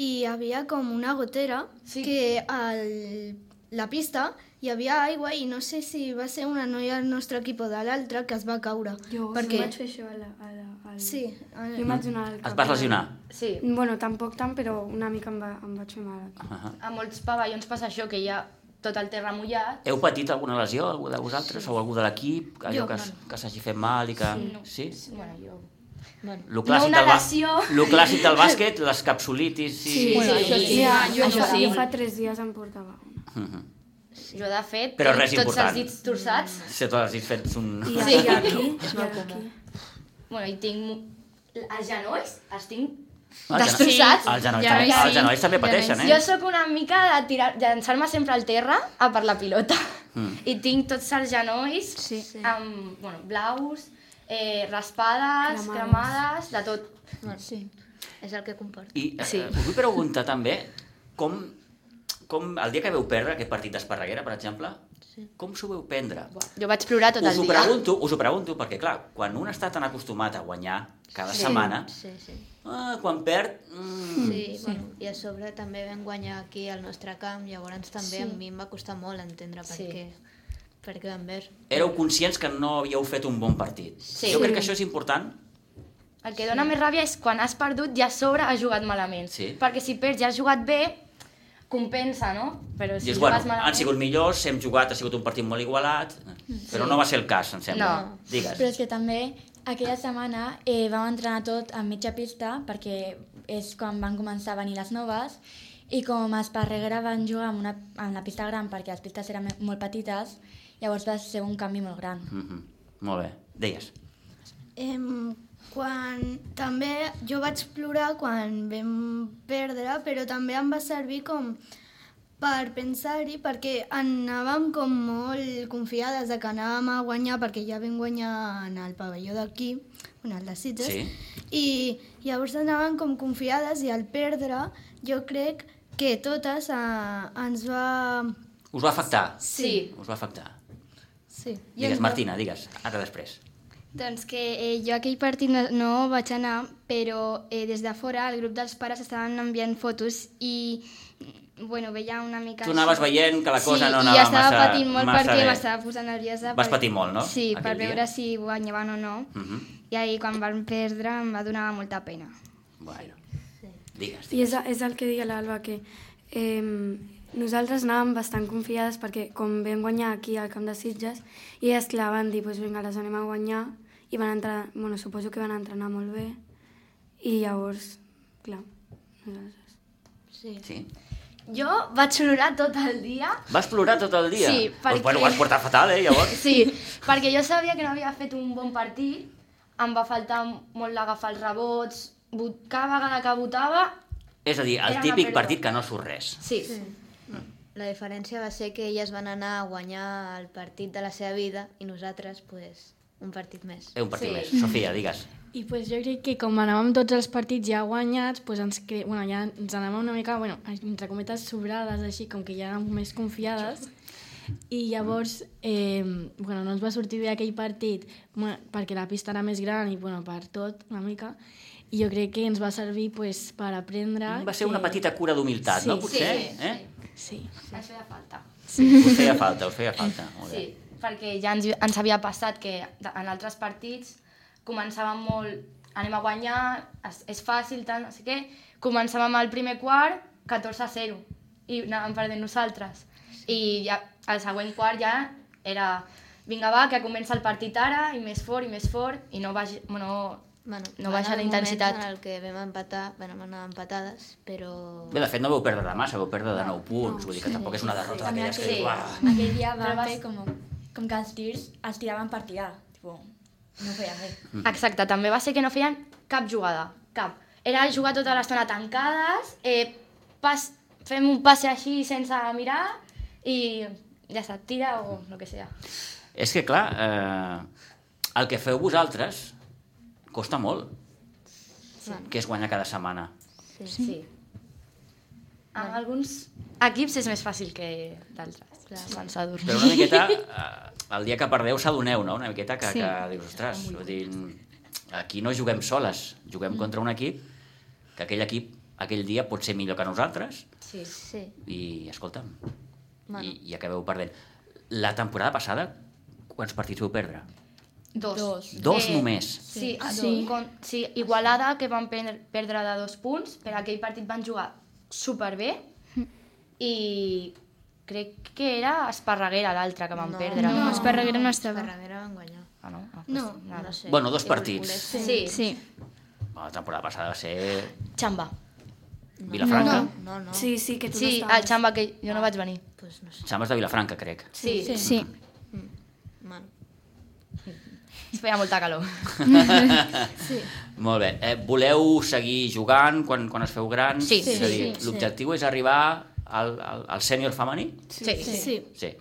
S7: hi havia com una gotera sí. que al, la pista hi havia aigua i no sé si va ser una noia del nostre equip o de l'altra que es va caure.
S8: Jo
S7: perquè...
S8: vaig fer això a la, a la, al...
S7: Sí,
S8: Jo
S7: a-
S8: em vaig donar el
S1: Mm. Et vas lesionar?
S3: Sí,
S8: Bueno, tampoc tant, però una mica em, va, em vaig fer mal.
S1: Ahà.
S3: a molts pavellons passa això, que hi ha tot el terra mullat.
S1: Heu patit alguna lesió, algú de vosaltres o algú de l'equip? Allò que, s- que s'hagi fet mal i que... Sí? sí?
S3: Bueno, jo...
S1: Lo clàssic
S3: una
S1: del ba-
S3: lesió.
S1: Lo clàssic del bàsquet, les capsulitis... Sí.
S8: Bueno,
S3: això sí.
S8: Ja, jo,
S3: Això
S8: això,
S3: Ah, sí.
S8: jo fa tres dies em portava una.
S3: Jo, de fet,
S1: Però
S3: tinc
S1: res
S3: tots
S1: important.
S3: els dits torçats.
S1: Se t'ho has dit fet un...
S8: I,
S3: Sí.
S8: i aquí, i aquí.
S3: Bueno, i tinc... mo- Els genolls els tinc...
S1: Els geno-
S3: destrossats.
S1: Els genolls,
S3: Ja
S1: també,
S3: veig,
S1: els
S3: sí.
S1: genolls també pateixen,
S3: Jo
S1: eh?
S3: sóc una mica de tirar, llançar-me sempre al terra a per la pilota. Mm. I tinc tots els genolls sí. amb bueno, blaus, eh, raspades, cremades,
S8: Cremades.
S3: de tot.
S4: És el que comporta.
S1: I eh, us vull preguntar també com, com el dia que veu perdre aquest partit d'Esparreguera, per exemple, com s'ho veu prendre?
S3: Jo vaig plorar tot
S1: us
S3: el
S1: ho
S3: dia.
S1: pregunto, us ho pregunto, perquè clar, quan un està tan acostumat a guanyar cada setmana,
S4: Sí, sí.
S1: ah, quan perd... Mm,
S4: Sí, bueno, i a sobre també vam guanyar aquí al nostre camp, llavors també sí. a mi em va costar molt entendre per
S3: Sí.
S4: sí. què per què vam ver.
S1: éreu conscients que no havíeu fet un bon partit.
S3: Sí.
S1: Jo crec que això és important.
S3: El que dona més ràbia és quan has perdut i a sobre has jugat malament.
S1: Sí.
S3: Perquè si perds i has jugat bé, compensa, no? Però si
S1: Dius,
S3: jugues
S1: bueno,
S3: malament...
S1: han sigut millors, hem jugat, ha sigut un partit molt igualat, però no va ser el cas, em sembla.
S3: No.
S1: Digues.
S6: Però és que també aquella setmana eh, vam entrenar tot a mitja pista perquè és quan van començar a venir les noves i com a Esparreguera van jugar amb, una, amb la pista gran perquè les pistes eren molt petites, llavors va ser un canvi molt gran.
S1: Mhm. Molt bé. Deies.
S7: Em, quan també jo vaig plorar quan vam perdre, però també em va servir com per pensar-hi, perquè anàvem com molt confiades de que anàvem a guanyar, perquè ja vam guanyar en el pavelló d'aquí, en el de Sitges,
S1: Sí.
S7: i llavors anàvem com confiades i al perdre jo crec que totes eh, ens va...
S1: Us va afectar?
S3: Sí.
S1: Us va afectar.
S7: Sí.
S1: Digues, Martina, digues. Ara després.
S2: Doncs que eh, jo aquell partit no, no vaig anar, però eh, des de fora el grup dels pares estaven enviant fotos i, mm, bueno, veia una mica...
S1: Tu anaves veient que la cosa
S2: sí,
S1: no
S2: i
S1: anava
S2: estava
S1: massa-
S2: patint molt
S1: massa
S2: perquè
S1: bé.
S2: m'estava posant nerviosa.
S1: Vas patir molt, no?
S2: Sí, per
S1: Aquell dia.
S2: veure si guanyaven o no.
S1: Mhm.
S2: I ahir quan van perdre em va donar molta pena.
S1: Bueno. Digues,
S8: I
S1: digues.
S8: és, és el que deia l'Alba, que eh, nosaltres anàvem bastant confiades perquè com vam guanyar aquí al Camp de Sitges, i elles clar van dir, doncs pues vinga, les anem a guanyar, i van entrar, bueno, suposo que van entrenar molt bé, i llavors, clar, nosaltres...
S1: Sí.
S3: Jo vaig plorar tot el dia
S1: Vas plorar tot el dia?
S3: Sí,
S1: Doncs,
S3: perquè-
S1: Bueno, ho has portat fatal, eh, llavors?
S3: Sí, perquè jo sabia que no havia fet un bon partit, em va faltar molt l'agafar els rebots, bot... cada vegada que votava...
S1: És a dir,
S3: Era
S1: el
S3: una
S1: típic
S3: pèrdua.
S1: partit que no surt res.
S3: Sí, sí.
S4: La diferència va ser que elles van anar a guanyar el partit de la seva vida i nosaltres, pues, un partit més.
S1: Eh, un partit sí. més. Sofia, digues.
S5: I pues, jo crec que com anàvem tots els partits ja guanyats, pues, ens, cre... bueno, ja ens anàvem una mica, bueno, entre cometes, sobrades, així, com que ja érem més confiades. I llavors, eh, bueno, no ens va sortir bé aquell partit, bueno, perquè la pista era més gran i bueno, per tot, una mica. I jo crec que ens va servir pues, per aprendre...
S1: Va ser
S5: que...
S1: una petita cura d'humilitat,
S5: Sí.
S1: no? Potser,
S3: Sí, sí.
S1: eh?
S5: Sí.
S3: Ens feia falta.
S1: Us feia falta, us feia falta. Molt bé.
S3: Sí, perquè ja ens, ens havia passat que de- en altres partits començàvem molt, anem a guanyar, és, és fàcil, tant, no sé què, començàvem el primer quart 14 a 0 i anàvem perdent nosaltres. I ja, el següent quart ja era, vinga va, que comença el partit ara, i més fort, i més fort, i no, baix, no,
S4: Bueno,
S3: No
S4: va
S3: baixa
S4: anar
S3: la
S4: un moment
S3: intensitat.
S4: En el que vam empatar, bueno, vam anar empatades, però...
S1: Bé, de fet, no vau perdre de massa, vau perdre de 9 punts, vull dir que tampoc és una derrota d'aquelles que
S3: Sí.
S1: dius, "Uah".
S6: Aquell dia
S3: Però
S6: vam
S3: vas-
S6: fer com, com que els tirs es tiraven per tirar. Tipo, no feien res.
S1: Mhm.
S3: Exacte, també va ser que no feien cap jugada, cap. Era jugar tota l'estona tancades, eh, pas, fem un passe així sense mirar i ja està, tira o el que sigui.
S1: És que, clar, eh, el que feu vosaltres costa molt, sí. que és guanyar cada setmana.
S3: Sí. sí. Amb alguns equips és més fàcil que d'altres. Sense dur.
S1: Però una miqueta, eh, el dia que perdeu s'adoneu, no? Una miqueta que,
S2: Sí.
S1: sí. que dius, ostres, vull dir, aquí no juguem soles, juguem mm. contra un equip que aquell equip aquell dia pot ser millor que nosaltres
S3: Sí.
S4: Sí,
S1: i, escolta'm, bueno.
S4: Bueno.
S1: i, i acabeu perdent. La temporada passada, quants partits vau perdre?
S3: Dos.
S6: Dos.
S1: Dos
S3: Eh.
S1: només.
S3: Sí, sí. Con, sí, Igualada, que van perdre, perdre de dos punts, per aquell partit van jugar superbé i crec que era Esparreguera l'altre que van
S4: No.
S3: perdre.
S2: No, Esparreguera no estava.
S4: Ferragera van guanyar.
S3: Ah, no? Ah,
S2: No.
S3: pues, nada.
S4: No sé.
S1: Bueno, dos
S4: Igual
S1: partits.
S4: Colers.
S3: Sí. sí.
S2: Sí.
S1: La temporada passada va ser
S3: Xamba.
S1: Vilafranca. No.
S4: No, no,
S8: Sí, sí, que tu
S3: Sí,
S8: no
S3: el
S8: estaves.
S3: Xamba, que jo no vaig venir.
S4: pues no sé.
S1: Xambes de Vilafranca, crec.
S3: Sí, sí.
S2: Sí.
S4: Bueno,
S3: es feia molta calor.
S1: Molt bé. Eh, voleu seguir jugant quan, quan es feu grans?
S3: Sí.
S1: És a dir,
S4: Sí.
S1: l'objectiu és arribar al, al, al sènior femení?
S3: Sí. Sí.
S2: Sí.
S1: Sí.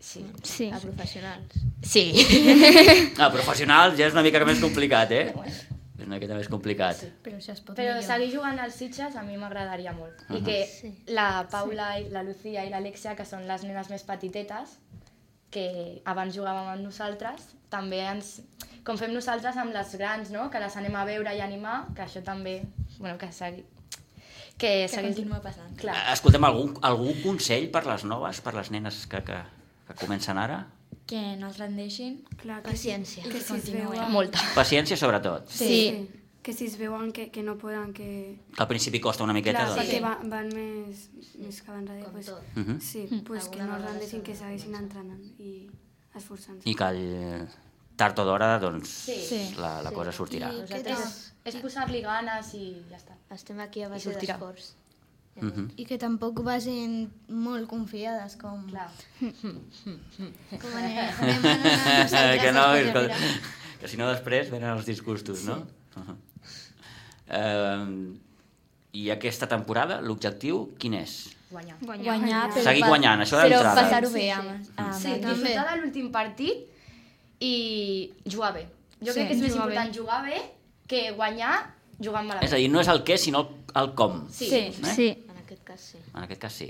S3: sí.
S2: Sí.
S4: a professionals.
S3: sí.
S1: No, Ah, professional ja és una mica més complicat, eh? És una miqueta més complicat.
S7: Però això es pot
S3: Però
S7: millorar.
S3: seguir jugant als Sitges a mi m'agradaria molt. Uh -huh. I que la Paula, i la Lucía i l'Alexia, que són les nenes més petitetes, que abans jugàvem amb nosaltres, també ens... Com fem nosaltres amb les grans, no? Que les anem a veure i animar, que això també... Bueno, que segui... Que,
S6: Que continua passant.
S1: Eh,
S3: Clar.
S1: Escolta'm, algun, algun consell per les noves, per les nenes que, que, que comencen ara?
S6: Que no es rendeixin.
S8: Clar, que
S4: Paciència.
S8: Sí, que si es
S6: continuen.
S8: veuen...
S3: Molta.
S1: Paciència, sobretot.
S8: Sí. sí. Que si es veuen que, que no poden, que...
S1: Que al principi costa una miqueta,
S8: Clar,
S1: doncs.
S8: perquè van, van més, més que van darrere.
S4: Com
S8: Pues,
S4: tot.
S1: Mhm.
S8: Sí, pues que no
S4: Alguna
S8: es
S4: vegada
S8: rendeixin,
S4: s'ha
S8: que
S4: de
S8: segueixin entrenant i esforçant-se.
S1: I que el, eh, tard o d'hora, doncs,
S2: Sí.
S1: la, la cosa sortirà.
S4: I nosaltres
S3: És, és posar-li ganes i ja està.
S4: estem aquí a base
S3: sortirà.
S4: d'esforç.
S1: Mhm.
S7: I que tampoc vagin molt confiades, com...
S3: Clar.
S7: com anem, anem anant a nosaltres
S1: que no,
S7: després,
S1: escolta,
S7: mira.
S1: que si no després venen els disgustos, no? Uh, I aquesta temporada, l'objectiu, quin és?
S3: Guanyar.
S2: Guanyar.
S6: Guanyar, però...
S1: Seguir
S6: pas-
S1: guanyant, això
S6: Però
S1: d'entrada.
S6: passar-ho bé Ah, amb, amb
S3: Sí,
S6: equips.
S3: disfrutar de l'últim partit i jugar bé. Jo
S2: Sí,
S3: crec que és més
S2: jugar bé.
S3: important jugar bé que guanyar jugant malament.
S1: És a dir, no és el què, sinó el, el com.
S3: Sí.
S1: Eh?
S2: Sí.
S4: En aquest cas sí.
S1: En aquest cas, sí.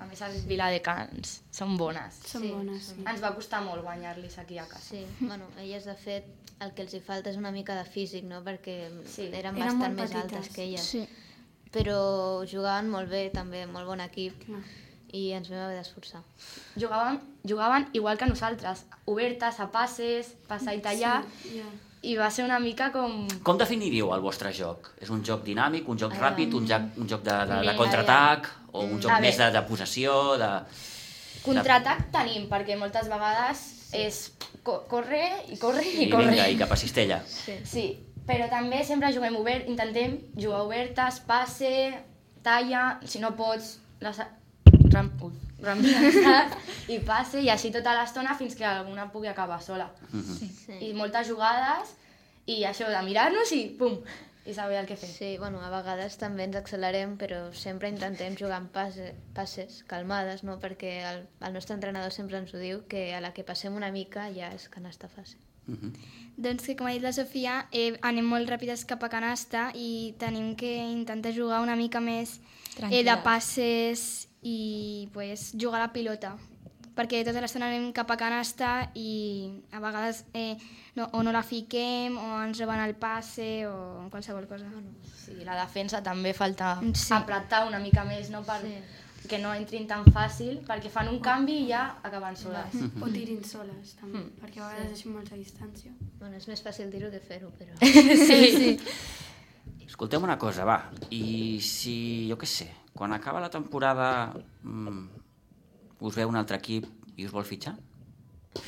S3: A més, els Viladecans són bones.
S8: Són sí, bones, sí.
S3: Ens va costar molt guanyar-los aquí a casa.
S4: Sí, bueno, elles de fet el que els hi falta és una mica de físic, no? Perquè
S3: Sí,
S4: sí. eren
S8: eren
S4: bastant
S8: molt
S4: més
S8: petites.
S4: altes que elles.
S2: Sí.
S4: Però jugaven molt bé, també, molt bon equip,
S8: Clar.
S4: i ens vam haver d'esforçar.
S3: Jugaven, jugaven igual que nosaltres, obertes, a passes, passar i tallar,
S8: Sí, ja.
S3: i va ser una mica com...
S1: Com definiríeu el vostre joc? És un joc dinàmic, un joc
S4: Aviam.
S1: ràpid, un joc, un joc de, de, de
S3: Aviam.
S1: contraatac, o un joc
S3: Ah. A
S1: més de,
S3: veure.
S1: de possessió, de...
S3: Contraatac tenim, perquè moltes vegades és co corre i corre
S1: I
S3: i, corre.
S1: vinga, i cap a cistella.
S3: Sí, però també sempre juguem obert, intentem jugar obertes, passe, talla, si no pots, les... Ram... Ui, rampejar i passe, i així tota l'estona fins que alguna pugui acabar sola.
S1: Mhm.
S4: Sí.
S3: I moltes jugades, i això de mirar-nos i pum, i saber el que fer.
S4: Sí, bueno, a vegades també ens accelerem, però sempre intentem jugar amb passe, passes calmades, no? perquè el, el nostre entrenador sempre ens ho diu, que a la que passem una mica ja és canasta fàcil.
S2: Doncs que, com ha dit la Sofia, eh, anem molt ràpides cap a canasta i tenim que intentar jugar una mica més eh, de
S6: Tranquil·les.
S2: passes i pues, jugar a la pilota. Perquè tota l'estona anem cap a canasta i a vegades eh, no, o no la fiquem o ens roben el passe o qualsevol cosa.
S3: Sí, la defensa també falta
S4: Mm,
S2: Sí.
S3: sí. apretar una mica més, no per sí. que no entrin tan fàcil, perquè fan un canvi i ja acaben soles.
S8: O tirin soles, també, perquè a vegades deixem molta distància.
S4: Bueno, és més fàcil dir-ho que fer-ho, però...
S1: Escolteu una cosa, va. I si, jo què sé, quan acaba la temporada mm, us veu un altre equip i us vol fitxar?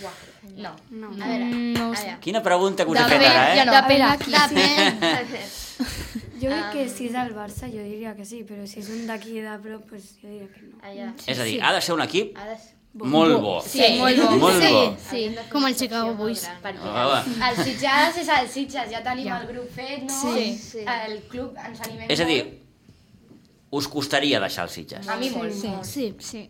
S3: Uah, no.
S8: No,
S4: A veure,
S2: No ho
S4: a
S2: sé.
S4: veure.
S1: Quina pregunta que us he
S2: Depèn,
S1: fet ara, eh?
S2: ja no. Depèn
S6: a veure,
S2: aquí.
S4: Depèn.
S8: jo crec que si és del Barça jo diria que sí, però si és un d'aquí de prop, pues, jo diria que no.
S4: Allà.
S3: Mm.
S1: És a dir, ha de ser un equip
S3: Ah,
S4: Ha de ser...
S1: molt bo.
S2: Sí, molt bo.
S1: Molt
S2: sí,
S1: bo. Ah,
S2: Sí.
S7: Com el Chicago Bulls.
S3: Perquè
S1: Va, va.
S3: Mm. els Sitges és els Sitges, ja tenim ja. el grup fet, no?
S4: Sí. Sí.
S3: El club ens animem
S1: És a dir,
S3: molt.
S1: us costaria deixar els Sitges.
S3: A mi molt. Sí.
S7: Sí.
S2: Sí.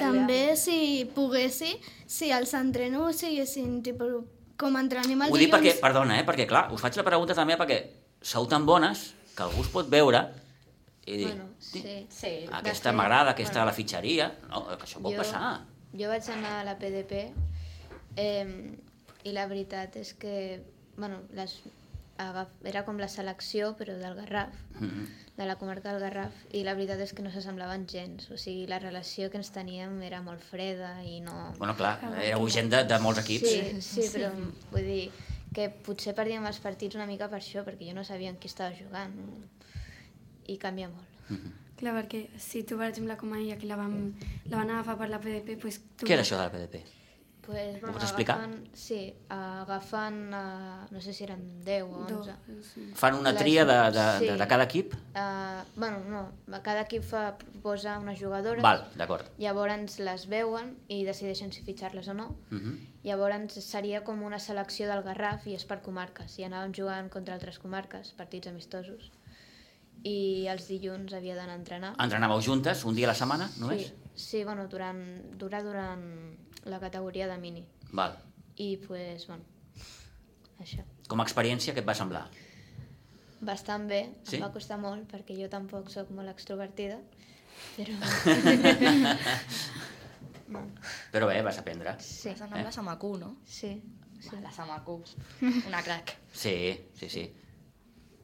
S7: També, si poguessi, si els entrenos siguessin tipus, com entrenem el
S1: Ho dic
S7: dilluns...
S1: perquè, perdona, eh? perquè clar, us faig la pregunta també perquè sou tan bones que algú us pot veure i dir,
S4: Bueno, sí.
S3: Sí.
S1: aquesta
S4: de fet,
S1: m'agrada, aquesta la fitxaria. No, que això pot
S4: Jo-
S1: passar.
S4: Jo vaig anar a la PDP eh, i la veritat és que, bueno, les, agaf, era com la selecció, però del Garraf,
S1: Mm,
S4: de la comarca del Garraf, i la veritat és que no s'assemblaven gens. O sigui, la relació que ens teníem era molt freda i no...
S1: Bueno, clar, éreu gent de, de molts equips.
S4: Sí, sí, però vull dir que potser perdíem els partits una mica per això, perquè jo no sabia amb qui estava jugant. I canvia molt.
S8: Clar, perquè si tu, per exemple, com ahir, que la, vam, la van agafar per la PDP, pues, tu...
S1: Què era això de la PDP?
S4: Pues, bueno,
S1: pots explicar?
S4: Agafant, sí, agafant, eh, no sé si eren 10 o 11.
S8: Dos.
S1: Fan una
S4: Les-
S1: tria de, de,
S4: sí.
S1: de, de cada equip?
S4: Uh, bueno, no, cada equip fa, proposa unes jugadores,
S1: Val, d'acord.
S4: llavors les veuen i decideixen si fitxar-les o no.
S1: Uh -huh.
S4: Llavors seria com una selecció del Garraf i és per comarques, i anàvem jugant contra altres comarques, partits amistosos. I els dilluns havia d'anar a entrenar.
S1: Entrenàveu juntes un dia a la setmana, només?
S4: sí, sí, bueno, durant, dura durant la categoria de mini.
S1: Val.
S4: I, pues, bueno, això.
S1: Com a experiència, què et va semblar?
S4: Bastant bé,
S1: Sí?
S4: em va costar molt, perquè jo tampoc sóc molt extrovertida, però...
S1: Ah. Però bé, vas aprendre.
S4: Sí,
S3: Vas
S1: Eh.
S3: anar amb la Samacu, no?
S4: sí.
S3: Sí. La Samacu, una crac.
S1: Sí, sí, sí.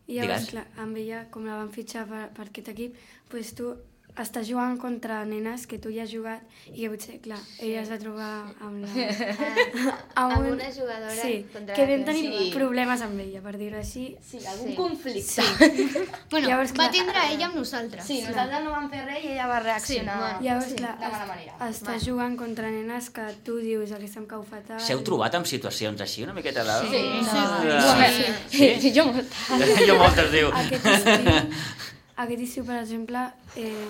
S8: I llavors,
S1: Digues.
S8: clar, amb ella, com la van fitxar per, per aquest equip, pues, tu estàs jugant contra nenes que tu ja has jugat i que potser, clar, ella es va trobar amb la...
S4: Amb una Ah, jugadora
S8: sí,
S4: contra
S8: que
S4: la
S8: vam
S4: que-
S8: tenir
S3: Sí.
S8: problemes amb ella, per dir-ho així.
S3: Sí, algun
S4: Sí.
S3: sí. conflicte. Sí.
S7: Bueno,
S8: Llavors,
S7: va
S8: clar,
S7: tindre ella amb nosaltres.
S3: sí, nosaltres no vam fer res i ella va reaccionar.
S4: bueno.
S3: Sí, Ah,
S8: Llavors, clar,
S3: de mala
S8: est-
S3: manera.
S8: estàs jugant contra nenes que tu dius aquesta em cau fatal.
S1: S'heu trobat amb situacions així una miqueta de...
S3: Sí,
S1: sí. sí. sí.
S3: jo molt.
S1: jo moltes diu.
S8: Aquest estiu, aquest estiu per exemple, eh,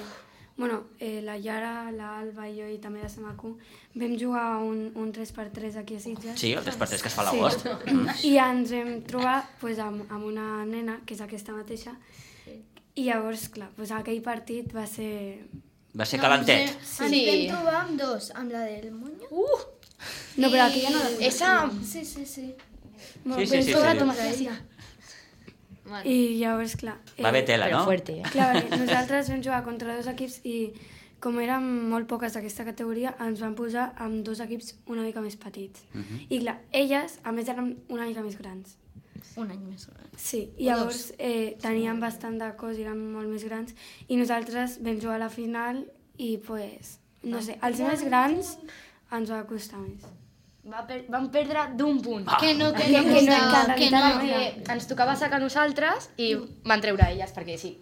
S8: bueno, eh, la Yara, l'Alba i jo i també la Samacu vam jugar a un, un 3x3 aquí a Sitges.
S1: Sí, el 3x3 que es fa a l'agost.
S8: I ens vam trobar pues, amb, amb una nena, que és aquesta mateixa, i llavors, clar, pues, aquell partit va ser...
S1: Va ser calentet.
S7: Sí. eh, Ens vam trobar amb dos, amb la del Muñoz.
S8: No, però aquella no...
S3: Esa...
S7: Sí, sí, sí.
S1: Sí, sí, sí. sí.
S8: I llavors, clar... eh,
S1: Va haver tela, no?
S3: eh?
S8: Clar, perquè nosaltres vam jugar contra dos equips i com érem molt poques d'aquesta categoria, ens van posar amb dos equips una mica més petits. I clar, elles, a més, eren una mica més grans.
S7: Un any més gran.
S8: Sí, i llavors eh, tenien bastant de cos, i eren molt més grans, i nosaltres vam jugar a la final i, pues, no sé, els més grans ens va costar més.
S3: Va per... Vam perdre d'un punt.
S1: Ah.
S7: Que no, que
S8: Que
S7: no,
S8: no, que no,
S7: costava, que no.
S3: Perquè ens tocava sacar nosaltres i van treure elles, perquè sí.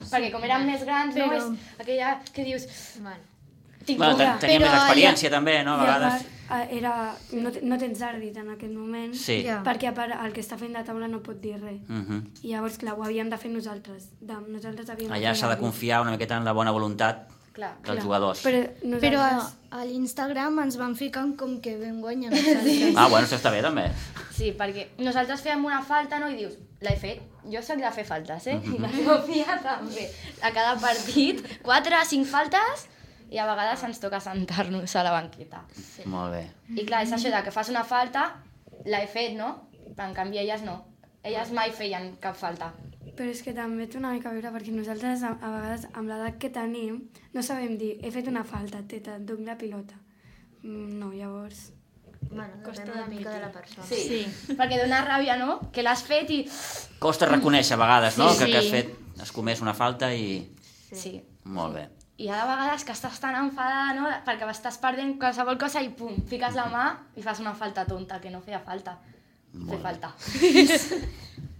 S3: Perquè com eren més grans, no?
S7: Però-
S3: És aquella que dius...
S4: Bueno,
S3: Tinc
S1: Bueno,
S3: cura.
S1: ten- tenia més
S7: Però
S1: experiència també, no? A
S8: I a
S1: vegades.
S8: part, eh, era... No, te- no tens àrbit en aquest moment,
S1: Sí.
S7: Ja.
S8: perquè a part el que està fent de taula no pot dir res.
S1: Mhm.
S8: I llavors, clar, ho havíem de fer nosaltres. De, nosaltres havíem
S1: Allà s'ha de confiar una miqueta en la bona voluntat
S3: Clar.
S1: dels jugadors.
S8: Però nosaltres...
S7: Però eh, a, a l'Instagram ens van ficar com que vam guanyar nosaltres.
S1: Ah, bueno, això està bé també.
S3: Sí, perquè nosaltres fèiem una falta, no? I dius, l'he fet, jo sóc de fer faltes, eh? I la Sofia també. A cada partit, 4 o 5 faltes, i a vegades ens toca sentar-nos a la banqueta.
S1: Molt bé.
S3: I clar, és això de que fas una falta, l'he fet, no? Però en canvi elles no. Elles mai feien cap falta.
S8: Però és que també té una mica a veure, perquè nosaltres a, a vegades, amb l'edat que tenim, no sabem dir, he fet una falta, teta, dono la pilota. Mm, No, llavors...
S4: Bueno, depèn una mica de la persona.
S3: Sí. sí. Perquè dona ràbia, no? Que l'has fet i...
S1: Costa reconèixer a vegades, no?
S2: Sí,
S1: que, que has
S2: sí.
S1: fet, has comès una falta i...
S3: Sí. sí.
S1: Molt bé.
S3: I hi ha de vegades que estàs tan enfadada, no?, perquè estàs perdent qualsevol cosa i pum, fiques la mà i fas una falta tonta, que no feia falta.
S1: Molt
S3: Fer
S1: bé.
S3: falta.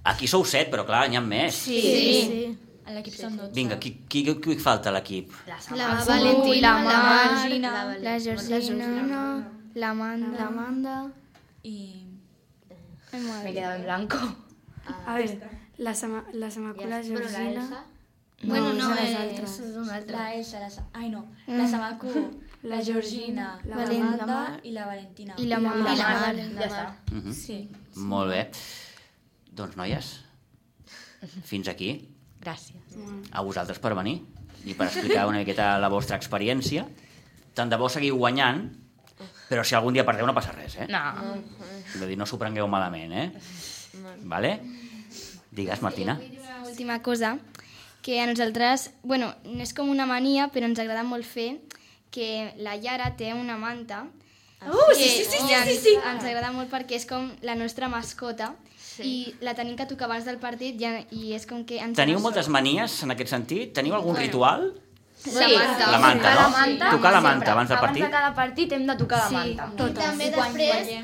S1: Aquí sou set, però clar, n'hi ha més.
S2: Sí. sí. sí.
S6: A l'equip sí. són 12.
S1: Vinga, qui, qui, qui falta a l'equip?
S3: La
S7: La
S3: Samantha.
S7: Valentina,
S2: la
S7: la Mar,
S2: Margina,
S4: La Valentina.
S2: la Georgina, l'Amanda...
S7: l'Amanda...
S6: I...
S3: Me
S2: Ai,
S3: he
S2: madre.
S3: quedado en blanco.
S8: A veure, la, Sama, la Samacula
S4: bueno, la
S8: Georgina...
S4: Elsa,
S7: bueno, no,
S8: és
S7: eh,
S8: altra.
S7: és una altra.
S6: La Elsa, la... Sa- Ai, no. La Samaku, la Georgina, la
S7: Valen- la
S6: Amanda
S7: Mar.
S6: i la Valentina.
S2: I la Mar.
S3: La
S2: I la
S3: Mar.
S2: Mar.
S3: Ja està.
S1: Mhm.
S6: Sí.
S1: Molt bé. Doncs, noies, fins aquí.
S6: Gràcies.
S1: A vosaltres per venir i per explicar una miqueta la vostra experiència. Tant de bo seguiu guanyant, però si algun dia perdeu no passa res, eh?
S3: No.
S1: Vull dir, no s'ho prengueu malament, eh? Vale? Digues, Martina.
S2: Una última cosa, que a nosaltres, bueno, no és com una mania, però ens agrada molt fer que la Yara té una manta
S3: Uh,
S2: que
S3: sí, sí, sí, sí,
S2: ens,
S3: sí, sí.
S2: ens agrada molt perquè és com la nostra mascota sí. i la tenim que tocar abans del partit i, i és com que ens
S1: Teniu moltes manies en aquest sentit? Teniu algun ritual?
S2: la
S1: La
S2: manta.
S1: manta,
S3: Tocar la
S1: no?
S3: manta.
S1: Tocar la manta
S3: sempre.
S1: abans del partit.
S3: Abans de cada partit hem de tocar la manta.
S7: I també després,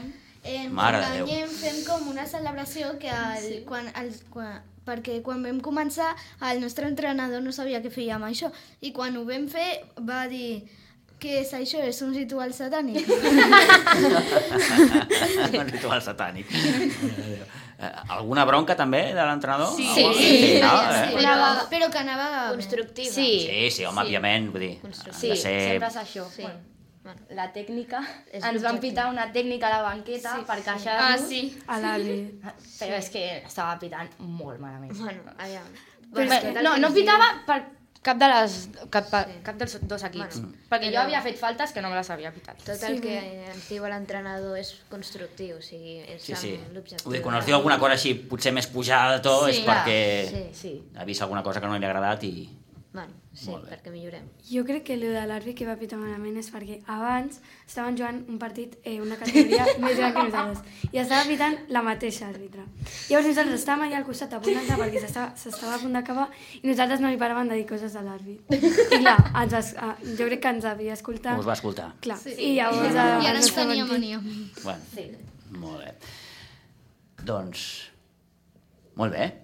S7: eh, quan
S1: Mare de Déu.
S7: guanyem, fem com una celebració que el, sí. quan, el, quan, perquè quan vam començar el nostre entrenador no sabia què feia amb això i quan ho vam fer va dir que és això, és un ritual satànic.
S1: un ritual satànic. Eh, Alguna bronca també de l'entrenador? Sí, sí,
S7: Sí,
S1: no?
S7: sí,
S1: Eh,
S7: però, però que anava...
S4: Constructiva.
S3: Sí.
S1: sí, sí home, òbviament, vull dir,
S3: Sí,
S1: ha de ser
S3: sempre és això.
S4: Sí.
S3: Bueno,
S4: Bueno,
S3: la tècnica,
S4: És
S3: ens van
S4: l'objectiu.
S3: pitar una tècnica a la banqueta sí, per queixar-nos. Ah,
S2: Ah, sí.
S8: A l'Ali.
S3: Però és que estava pitant molt malament.
S4: bueno, aviam.
S3: Però
S4: Bueno,
S3: és que
S4: tal
S3: no,
S4: com
S3: no
S4: diu-
S3: pitava per cap, de les, cap, sí. cap dels dos equips.
S4: Bueno,
S3: Bueno, perquè jo
S4: però-
S3: havia fet faltes que no me les havia pitat.
S4: Tot el que ens diu l'entrenador és constructiu, o sigui, és
S1: Sí, sí.
S4: amb l'objectiu.
S1: Vull dir, quan us diu alguna cosa així, potser més pujada de to, sí, és
S3: clar,
S1: perquè
S3: Sí.
S1: ha vist alguna cosa que no li ha agradat i...
S4: Bueno, sí,
S1: Molt bé.
S4: perquè millorem.
S8: Jo crec que allò de l'àrbitre que va pitar malament és perquè abans estaven jugant un partit, eh, una categoria més gran que nosaltres, i estava pitant la mateixa àrbitre. Llavors nosaltres estàvem allà al costat apuntant perquè s'estava s'estava a punt d'acabar i nosaltres no li paràvem de dir coses de l'àrbitre. I clar, ens va, es- ah, jo crec que ens havia escoltat.
S1: Us va escoltar.
S8: Clar, sí. i llavors...
S7: I
S8: eh,
S7: ara ens
S8: estava
S7: tenia
S8: dient-
S7: mania.
S1: Bueno, sí. Molt bé. Doncs... Molt bé.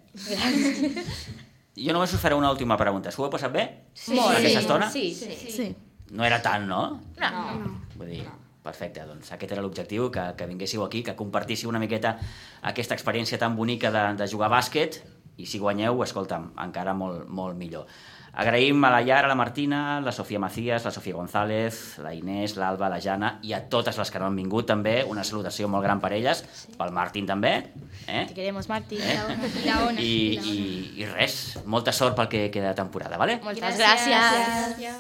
S1: Jo només us faré una última pregunta. S'ho heu passat bé? Sí.
S3: Molt
S1: Aquesta estona?
S3: Sí.
S4: Sí.
S7: Sí.
S1: No era tant, no?
S4: No.
S1: Vull dir, perfecte, doncs aquest era l'objectiu, que, que vinguéssiu aquí, que compartíssiu una miqueta aquesta experiència tan bonica de, de jugar a bàsquet, i si guanyeu, escolta'm, encara molt, molt millor. Agraïm a la Llara, la Martina, la Sofia Macías, la Sofia González, la Inés, l'Alba, la Jana i a totes les que no han vingut també, una salutació molt gran per elles, pel Martín també, eh?
S3: Te queremos, Martí.
S2: I la Ona.
S1: I, i, i res, molta sort pel que queda de temporada, vale?
S3: Moltes gràcies. gràcies.
S2: Gràcies.